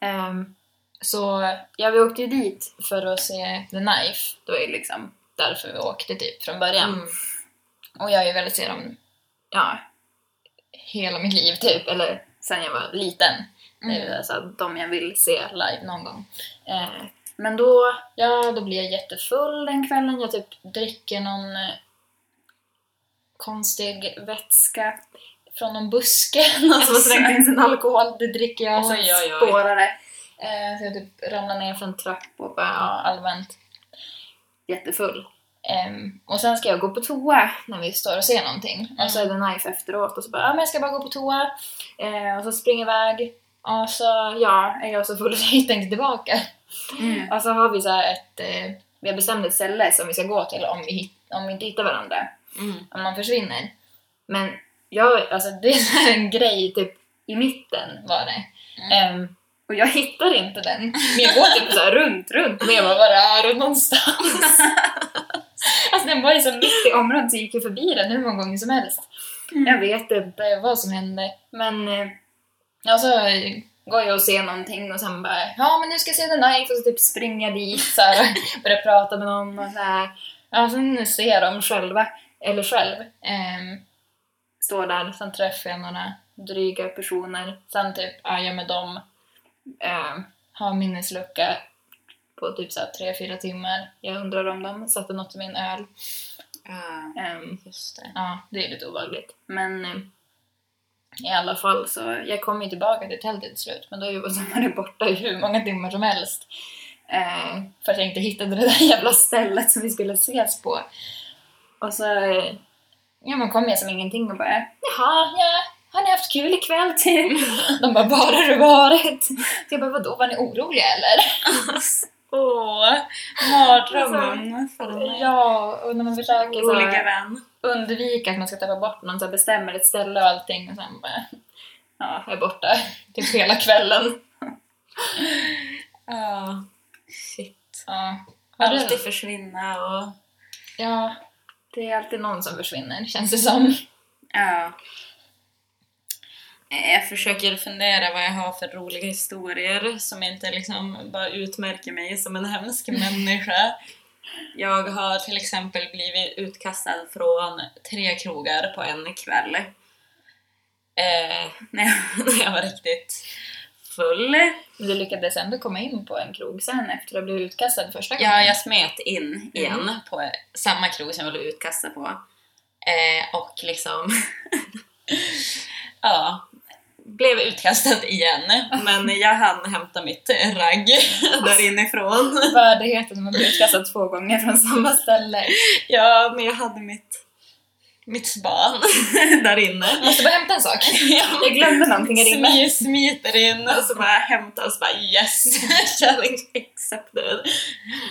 Ehm, så ja, vi åkte ju dit för att se The Knife. Det var ju liksom därför vi åkte typ från början. Mm. Och jag har ju velat se dem ja, hela mitt liv typ, eller sen jag var liten. Det är ju alltså de jag vill se live någon gång. Eh, men då, ja, då blir jag jättefull den kvällen. Jag typ dricker någon eh, konstig vätska från någon buske. [laughs] Någon som har slängt in sin alkohol. Det dricker jag och sen Oj, oj, oj. spårar det. Eh, så jag typ ramlar ner för en trapp och bara ja, allmänt jättefull. Ehm, och sen ska jag gå på toa när vi står och ser någonting. Och så är det knife efteråt och så bara ja, men jag ska bara gå på toa. Eh, och så springer jag iväg. Och så ja, är jag så full så jag hittar inte tillbaka. Mm. Och så har vi så här ett, eh, vi har bestämt ett ställe som vi ska gå till om vi, hit- om vi inte hittar varandra. Mm. Om man försvinner. Men jag, alltså det är så här en grej typ i mitten var det. Ehm, och jag hittar inte den. Men jag går typ så här runt, runt. Men jag bara, var är den någonstans? alltså den var ju så mitt i området så jag gick ju förbi den hur många gånger som helst. Jag vet inte vad som hände. Men eh, ja, så går jag och ser någonting och sen bara ja men nu ska jag se The Knife och så typ springer jag dit så här, börjar prata med någon och så här. Ja, sen ser jag dem själva, eller själv. ehm, står där, sen träffar jag några dryga personer. Sen typ är jag med dem, ehm, har minneslucka på typ så här 3-4 timmar. Jag undrar om de satte något i min öl. Ja, Ehm, just det. Ja, det är lite obehagligt. Men eh, i alla fall så, jag kom ju tillbaka till tältet till slut, men då var så var det [laughs] borta i hur många timmar som helst. Eh, för att jag inte hittade det där jävla stället som vi skulle ses på. Och så eh, ja, man kom jag som ingenting och bara Jaha, ja, har ni haft kul ikväll till? [laughs] De bara, var har du varit? Så jag bara, vadå, var ni oroliga eller? Åh, mardrömmen Alltså, för den Ja, och när man försöker så här- vän. undvika att man ska tappa bort någon, så här bestämmer ett ställe och allting och sen bara, ja, jag är borta [laughs] typ hela kvällen. Ja, shit. Ja. Har du- Alltid försvinna och... ja, det är alltid någon som försvinner känns det som. Ja. Jag försöker fundera vad jag har för roliga historier som inte liksom bara utmärker mig som en hemsk människa. Jag har till exempel blivit utkastad från tre krogar på en kväll. Eh, när jag- [laughs] när jag var riktigt full. Men Du lyckades ändå komma in på en krog sen efter att ha blivit utkastad första gången. Ja, [laughs] jag smet in igen på samma krog som jag blev utkastad på. Eh, och liksom... [laughs] ja, blev utkastad igen. Men jag hann hämta mitt ragg [laughs] där inifrån. Värdigheten när man blir utkastad två gånger från samma ställe. Ja, men jag hade mitt mitt span [laughs] där inne. Jag måste bara hämta en sak. [laughs] Jag Jag glömde någonting här inne. smi- smiter in och så bara hämtas bara yes, [laughs] challenge accepted.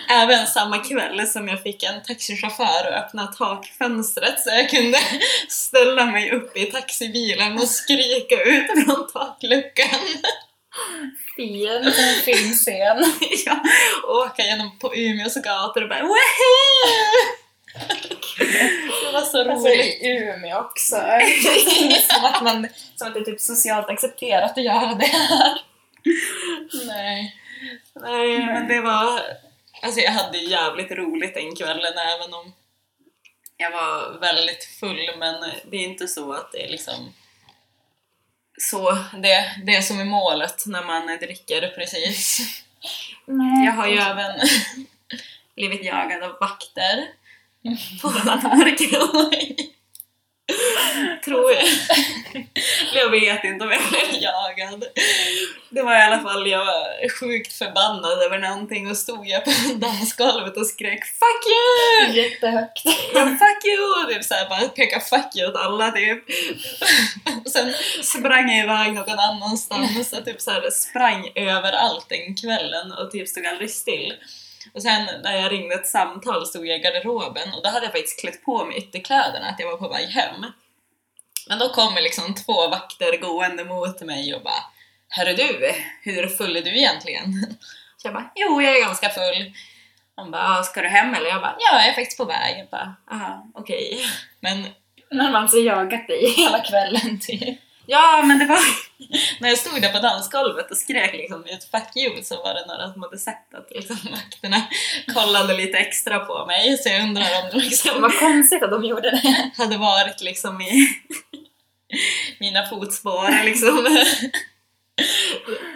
Även samma kväll som jag fick en taxichaufför att öppna takfönstret så jag kunde [laughs] ställa mig upp i taxibilen och skrika ut från takluckan. [laughs] I en liten filmscen. Ja, och åka genom på Umeås gator och bara woohoo! Det var så Alltså roligt. i Umeå också. [laughs] som, att man, som att det är typ socialt accepterat att göra det här. Nej. Nej, men det var... Alltså jag hade jävligt roligt den kvällen även om jag var väldigt full men det är inte så att det är liksom så det, det är som är målet när man dricker precis. Nej. Jag har ju även [laughs] blivit jagad av vakter på att parkera mig. Tror jag. Jag vet inte om jag blev jagad. Det var i alla fall, jag var sjukt förbannad över någonting och stod jag på [laughs] dansgolvet och skrek FUCK YOU! Jättehögt. Ja, fuck you! Typ såhär, bara peka fuck you åt alla typ. Och Sen sprang jag iväg någon annanstans och typ såhär sprang överallt den kvällen och typ stod aldrig still. Och sen när jag ringde ett samtal stod jag i garderoben och då hade jag faktiskt klätt på mig ytterkläderna att jag var på väg hem. Men då kommer liksom två vakter gående mot mig och bara Herre du, hur full är du egentligen? Så jag bara, jo jag är ganska full. Han bara, "Ah, ska du hem eller? Jag bara, ja jag är faktiskt på väg. Jag bara, aha okej. Men [laughs] När man så jagat dig [laughs] hela kvällen typ. till. ja men det var... [laughs] När jag stod där på dansgolvet och skrek liksom ut 'fuck you' så var det några som hade sett att liksom vakterna [laughs] kollade lite extra på mig så jag undrar om de liksom Vad konstigt att de gjorde [laughs] det. hade varit liksom i [laughs] mina fotspår liksom.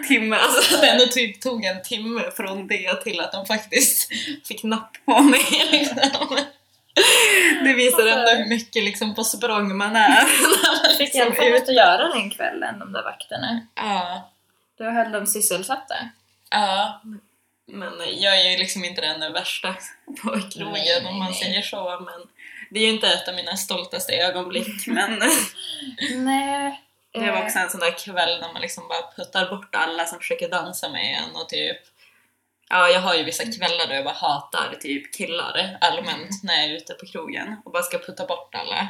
Timme, alltså att det ändå typ tog en timme från det till att de faktiskt fick napp på mig [laughs] liksom. Det visar ändå hur mycket liksom på språng man [laughs] är. Fick i alla fall något att göra den kvällen, de där vakterna. Ja, Då höll de sysselsatta. ja. Men jag är ju liksom inte den värsta på krogen om man Nej, nej. säger så men det är ju inte ett av mina stoltaste ögonblick men Nej. eh, Det var också en sån där kväll när man liksom bara puttar bort alla som försöker dansa med en och typ Ja, jag har ju Mm. vissa kvällar då jag bara hatar typ killar allmänt när jag är ute på krogen och bara ska putta bort alla.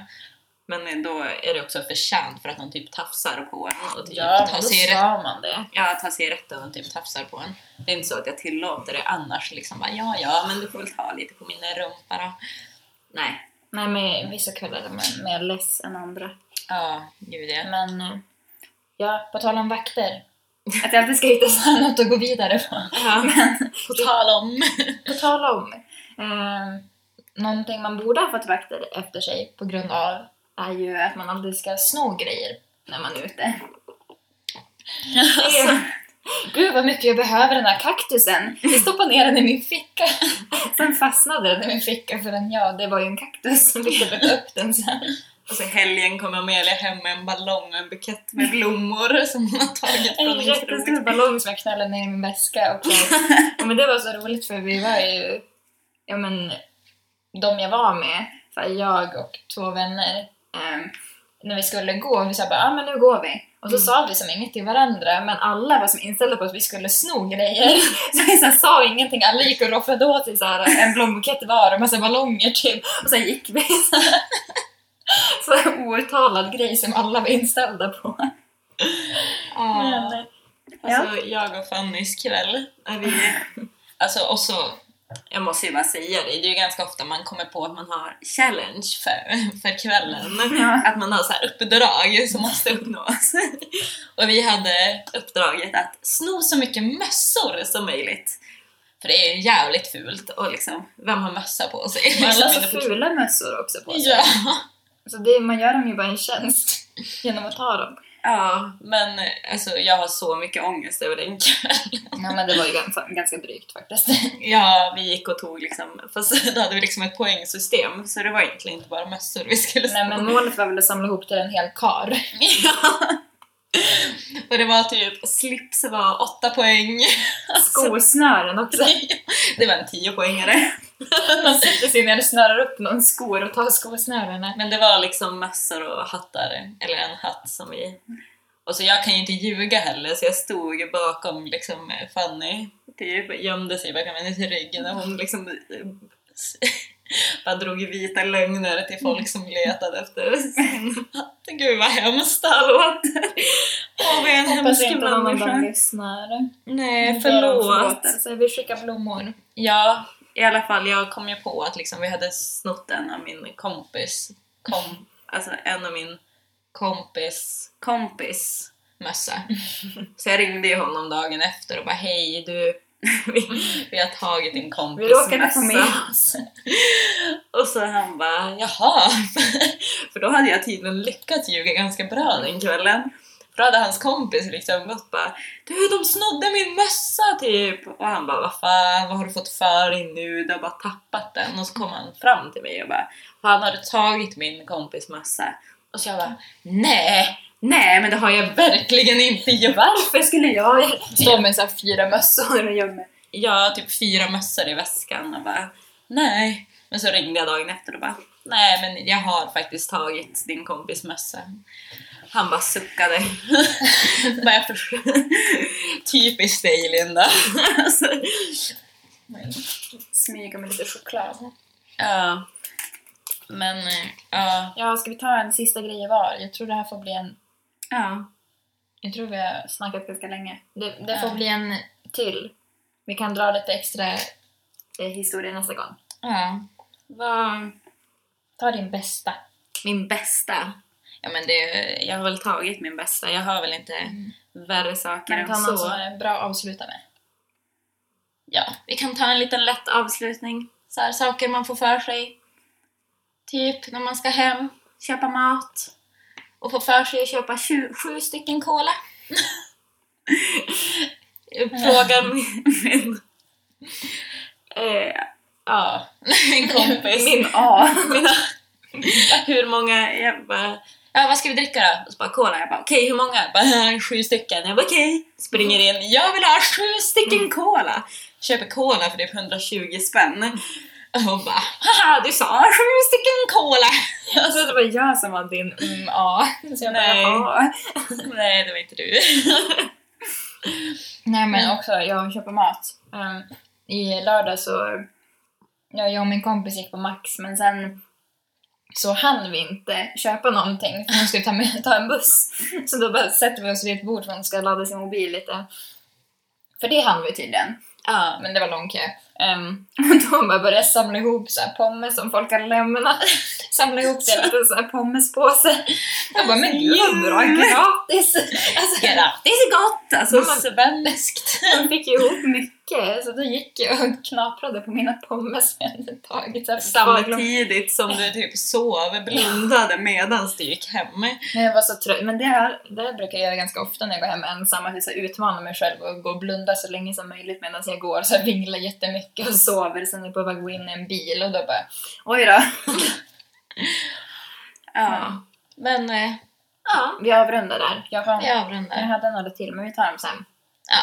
Men då är det också förtjänt för att de typ tafsar på en och typ Ja, men tar, då sig rätt, sa man det. ja, tar sig rätt och typ tafsar på en. Det är inte så att jag tillåter det annars liksom bara ja, ja, men du får väl ta lite på min rumpa då. Nej. Nej, men vissa kvällar är man mer less än andra. Ja, gud ja. Men eh, ja, på tal om vakter. [laughs] Att jag alltid ska hitta [laughs] så här något att gå vidare på. [laughs] På tal om... På tal om eh, någonting man borde ha fått vakter efter sig på grund av är ju att man aldrig ska sno grejer när man är ute. Det är- Gud vad mycket jag behöver den här kaktusen! Jag stoppade ner den i min ficka. Sen fastnade den i min ficka för den, ja, det var ju en kaktus. Jag fick jag upp den sen. Och så i helgen kom Amelia hem med en ballong och en bukett med blommor som hon har tagit En från en krog. jättestor ballong som jag knällde ner i min väska. [laughs] Och, ja, men det var så roligt för vi var ju, ja men, de jag var med, så här, jag och två vänner, ehm, när vi skulle gå, vi sa bara ja ah, men nu går vi. Och så Mm. sa vi som inget till varandra, men alla var som inställda på att vi skulle sno [laughs] grejer. Så vi så här, sa ingenting, alla gick och rofflade åt sig så här, en blombukett var och massa ballonger typ. Och sen gick vi. Så här. [laughs] Så här outtalad grej som alla var inställda på. Ja. Alltså, jag och Fannys kväll, är vi... Alltså, och så... Jag måste ju bara säga det, det är ju ganska ofta man kommer på att man har challenge för, för kvällen. Ja. Att man har så här uppdrag som måste uppnås. Och vi hade uppdraget att sno så mycket mössor som möjligt. För det är ju jävligt fult och liksom, vem har mössa på sig? Man har Liksom, så fula mössor också på sig. Ja. Så det, man gör dem ju bara en tjänst [laughs] genom att ta dem. ja, men eh, alltså, jag har så mycket ångest över den kvällen. Ja men det var ju ganska, ganska drygt faktiskt. Ja, [laughs] vi gick och tog liksom, fast [laughs] då hade vi liksom ett poängsystem så det var egentligen inte bara mössor vi skulle Nej men målet var väl att samla ihop till en hel kar. Ja. [laughs] Och det var typ, slips var åtta poäng. [laughs] Skosnören också. Det var en tiopoängare. Man sätter sig ner och snörar upp någon skor och tar skosnörena. Men det var liksom mössor och hattar, eller en hatt som vi... Och så jag kan ju inte ljuga heller, så jag stod ju bakom liksom Fanny, typ, gömde sig bakom hennes rygg när hon liksom [laughs] bara drog vita lögner till folk som letade efter sin hatt. Gud vad hemskt allt! Åh, vad jag är en Hoppas hemsk inte någon av dem människa. lyssnar. Nej, Förlåt. förlåt. Alltså, vi skickar blommor. Ja, i alla fall. Jag kom ju på att liksom, vi hade snott en av min kompis, kom, alltså en av min kompis kompis [laughs] mössa. Så jag ringde ju honom dagen efter och bara hej du, vi, vi har tagit din kompis Vi råkade få mössa." med oss. [laughs] Och så han bara jaha, [laughs] för då hade jag tydligen lyckats ljuga ganska bra den kvällen. För då hade hans kompis liksom gått bara Du de snodde min mössa typ! Och han bara vad fan, vad har du fått för dig nu? Du har bara tappat den. Och så kom han fram till mig och bara Fan har du tagit min kompis mössa? Och så jag bara nej, nej men det har jag verkligen inte gjort! Varför skulle jag stå med så här fyra mössor och gömma mig? Jag har typ fyra mössor i väskan och bara nej. Men så ringde jag dagen efter och bara nej men jag har faktiskt tagit din kompis mössa. Han bara [laughs] suckade. bara, jag förstår. Typiskt dig Linda. alltså, Smyga med lite choklad. [laughs] ja. Men eh, ja. Ja, ska vi ta en sista grej var? Jag tror det här får bli en... ja. Jag tror vi har snackat ganska länge. Det, det får Ja. bli en till. Vi kan dra lite extra eh, historia nästa gång. ja. Vad Ta din bästa. Min bästa? Ja men det, Mm. jag har väl tagit min bästa. Jag har väl inte värre saker Men än ta så. någon som är bra att avsluta med. Ja, vi kan ta en liten lätt avslutning. Så här, saker man får för sig. Typ när man ska hem, köpa mat och få för sig att köpa tju- sju stycken [laughs] cola. Frågar [laughs] min... min eh, ja, [laughs] min kompis. Min A. mina, [laughs] hur många, jag bara, ja vad ska vi dricka då? Och så bara cola, jag bara okej hur många? Jag Bara, "Eh, sju stycken, jag bara okej, springer in, jag vill ha sju stycken cola! Köper cola för typ 120 spänn och bara haha du sa sju stycken cola! [laughs] [laughs] Jag trodde det var jag som var din mm, A. Så jag Nej. bara, A. Nej det var inte du. [laughs] Nej men också, jag köper mat. Ehm, I lördag så... Ja, jag och min kompis gick på Max men sen så hann vi inte köpa någonting för [laughs] hon skulle ta, med, ta en buss. Så då bara sätter vi oss vid ett bord för hon ska ladda sin mobil lite. För det hann vi tydligen. ja, Men det var lång kö. Ehm, [laughs] och då bara började jag samla ihop så här pommes som folk har lämnat. [laughs] Samla ihop till en liten så här pommespåse. Jag bara, men gud vad bra, gratis! [laughs] Alltså, det är så gott alltså! Mamma- [laughs] Svenskt! de fick ju ihop mycket, så då gick jag och knaprade på mina pommes som jag hade tagit. Så här, Samtidigt som du typ sov blundade medans du gick hem. Men jag var så trött. Men det här, det här brukar jag göra ganska ofta när jag går hem ensam, att jag så här utmanar mig själv och går och blundar så länge som möjligt medan jag går, så jag vinglar jättemycket och sover. Sen är jag på väg att gå in i en bil och då bara, oj då. Ja. Men eh, ja, Vi avrundar där. Jag, har, vi jag avrundar. hade några till, men vi tar dem sen. Ja.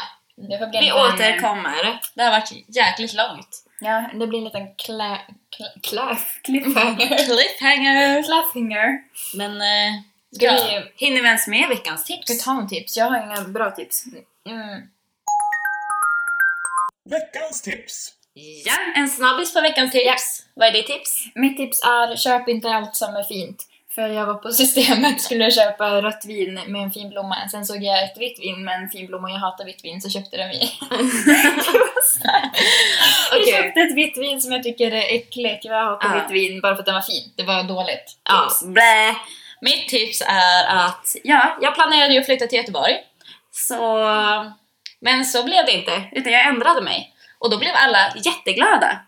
Det får bli Vi en liten- återkommer. Det har varit jäkligt långt. Ja, det blir en liten klä... klä... klä... [laughs] cliffhanger. Cliffhanger! [laughs] Cliffhanger. Men eh, Ska ja. vi- hinner vi ens med veckans Ska vi tips? ta någon tips? Jag har inga bra tips. Mm. Veckans tips! Ja, en snabbis på veckans tips. Vad är ditt tips? Mitt tips är, köp inte allt som är fint. För jag var på [laughs] systemet skulle köpa rött vin med en fin blomma. Sen såg jag ett vitt vin med en fin blomma och jag hatar vitt vin så köpte den [laughs] vin. Okej. Jag köpte ett vitt vin som jag tycker är äckligt. Jag hatar Ja. vitt vin bara för att den var fint. Det var dåligt. Ja, Tips. blä. Mitt tips är att ja, jag planerade ju att flytta till Göteborg. Så... Men så blev det inte, utan jag ändrade mig. Och då blev alla jätteglada.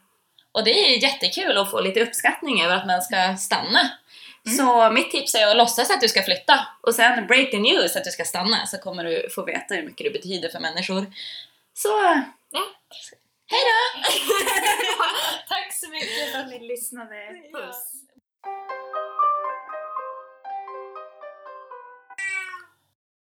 Och det är ju jättekul att få lite uppskattning över att man ska stanna. Så mitt tips är att låtsas att du ska flytta och sen break the news att du ska stanna så kommer du få veta hur mycket du betyder för människor. Så Ja. hej då! Tack så mycket för att ni lyssnade. Puss! Puss.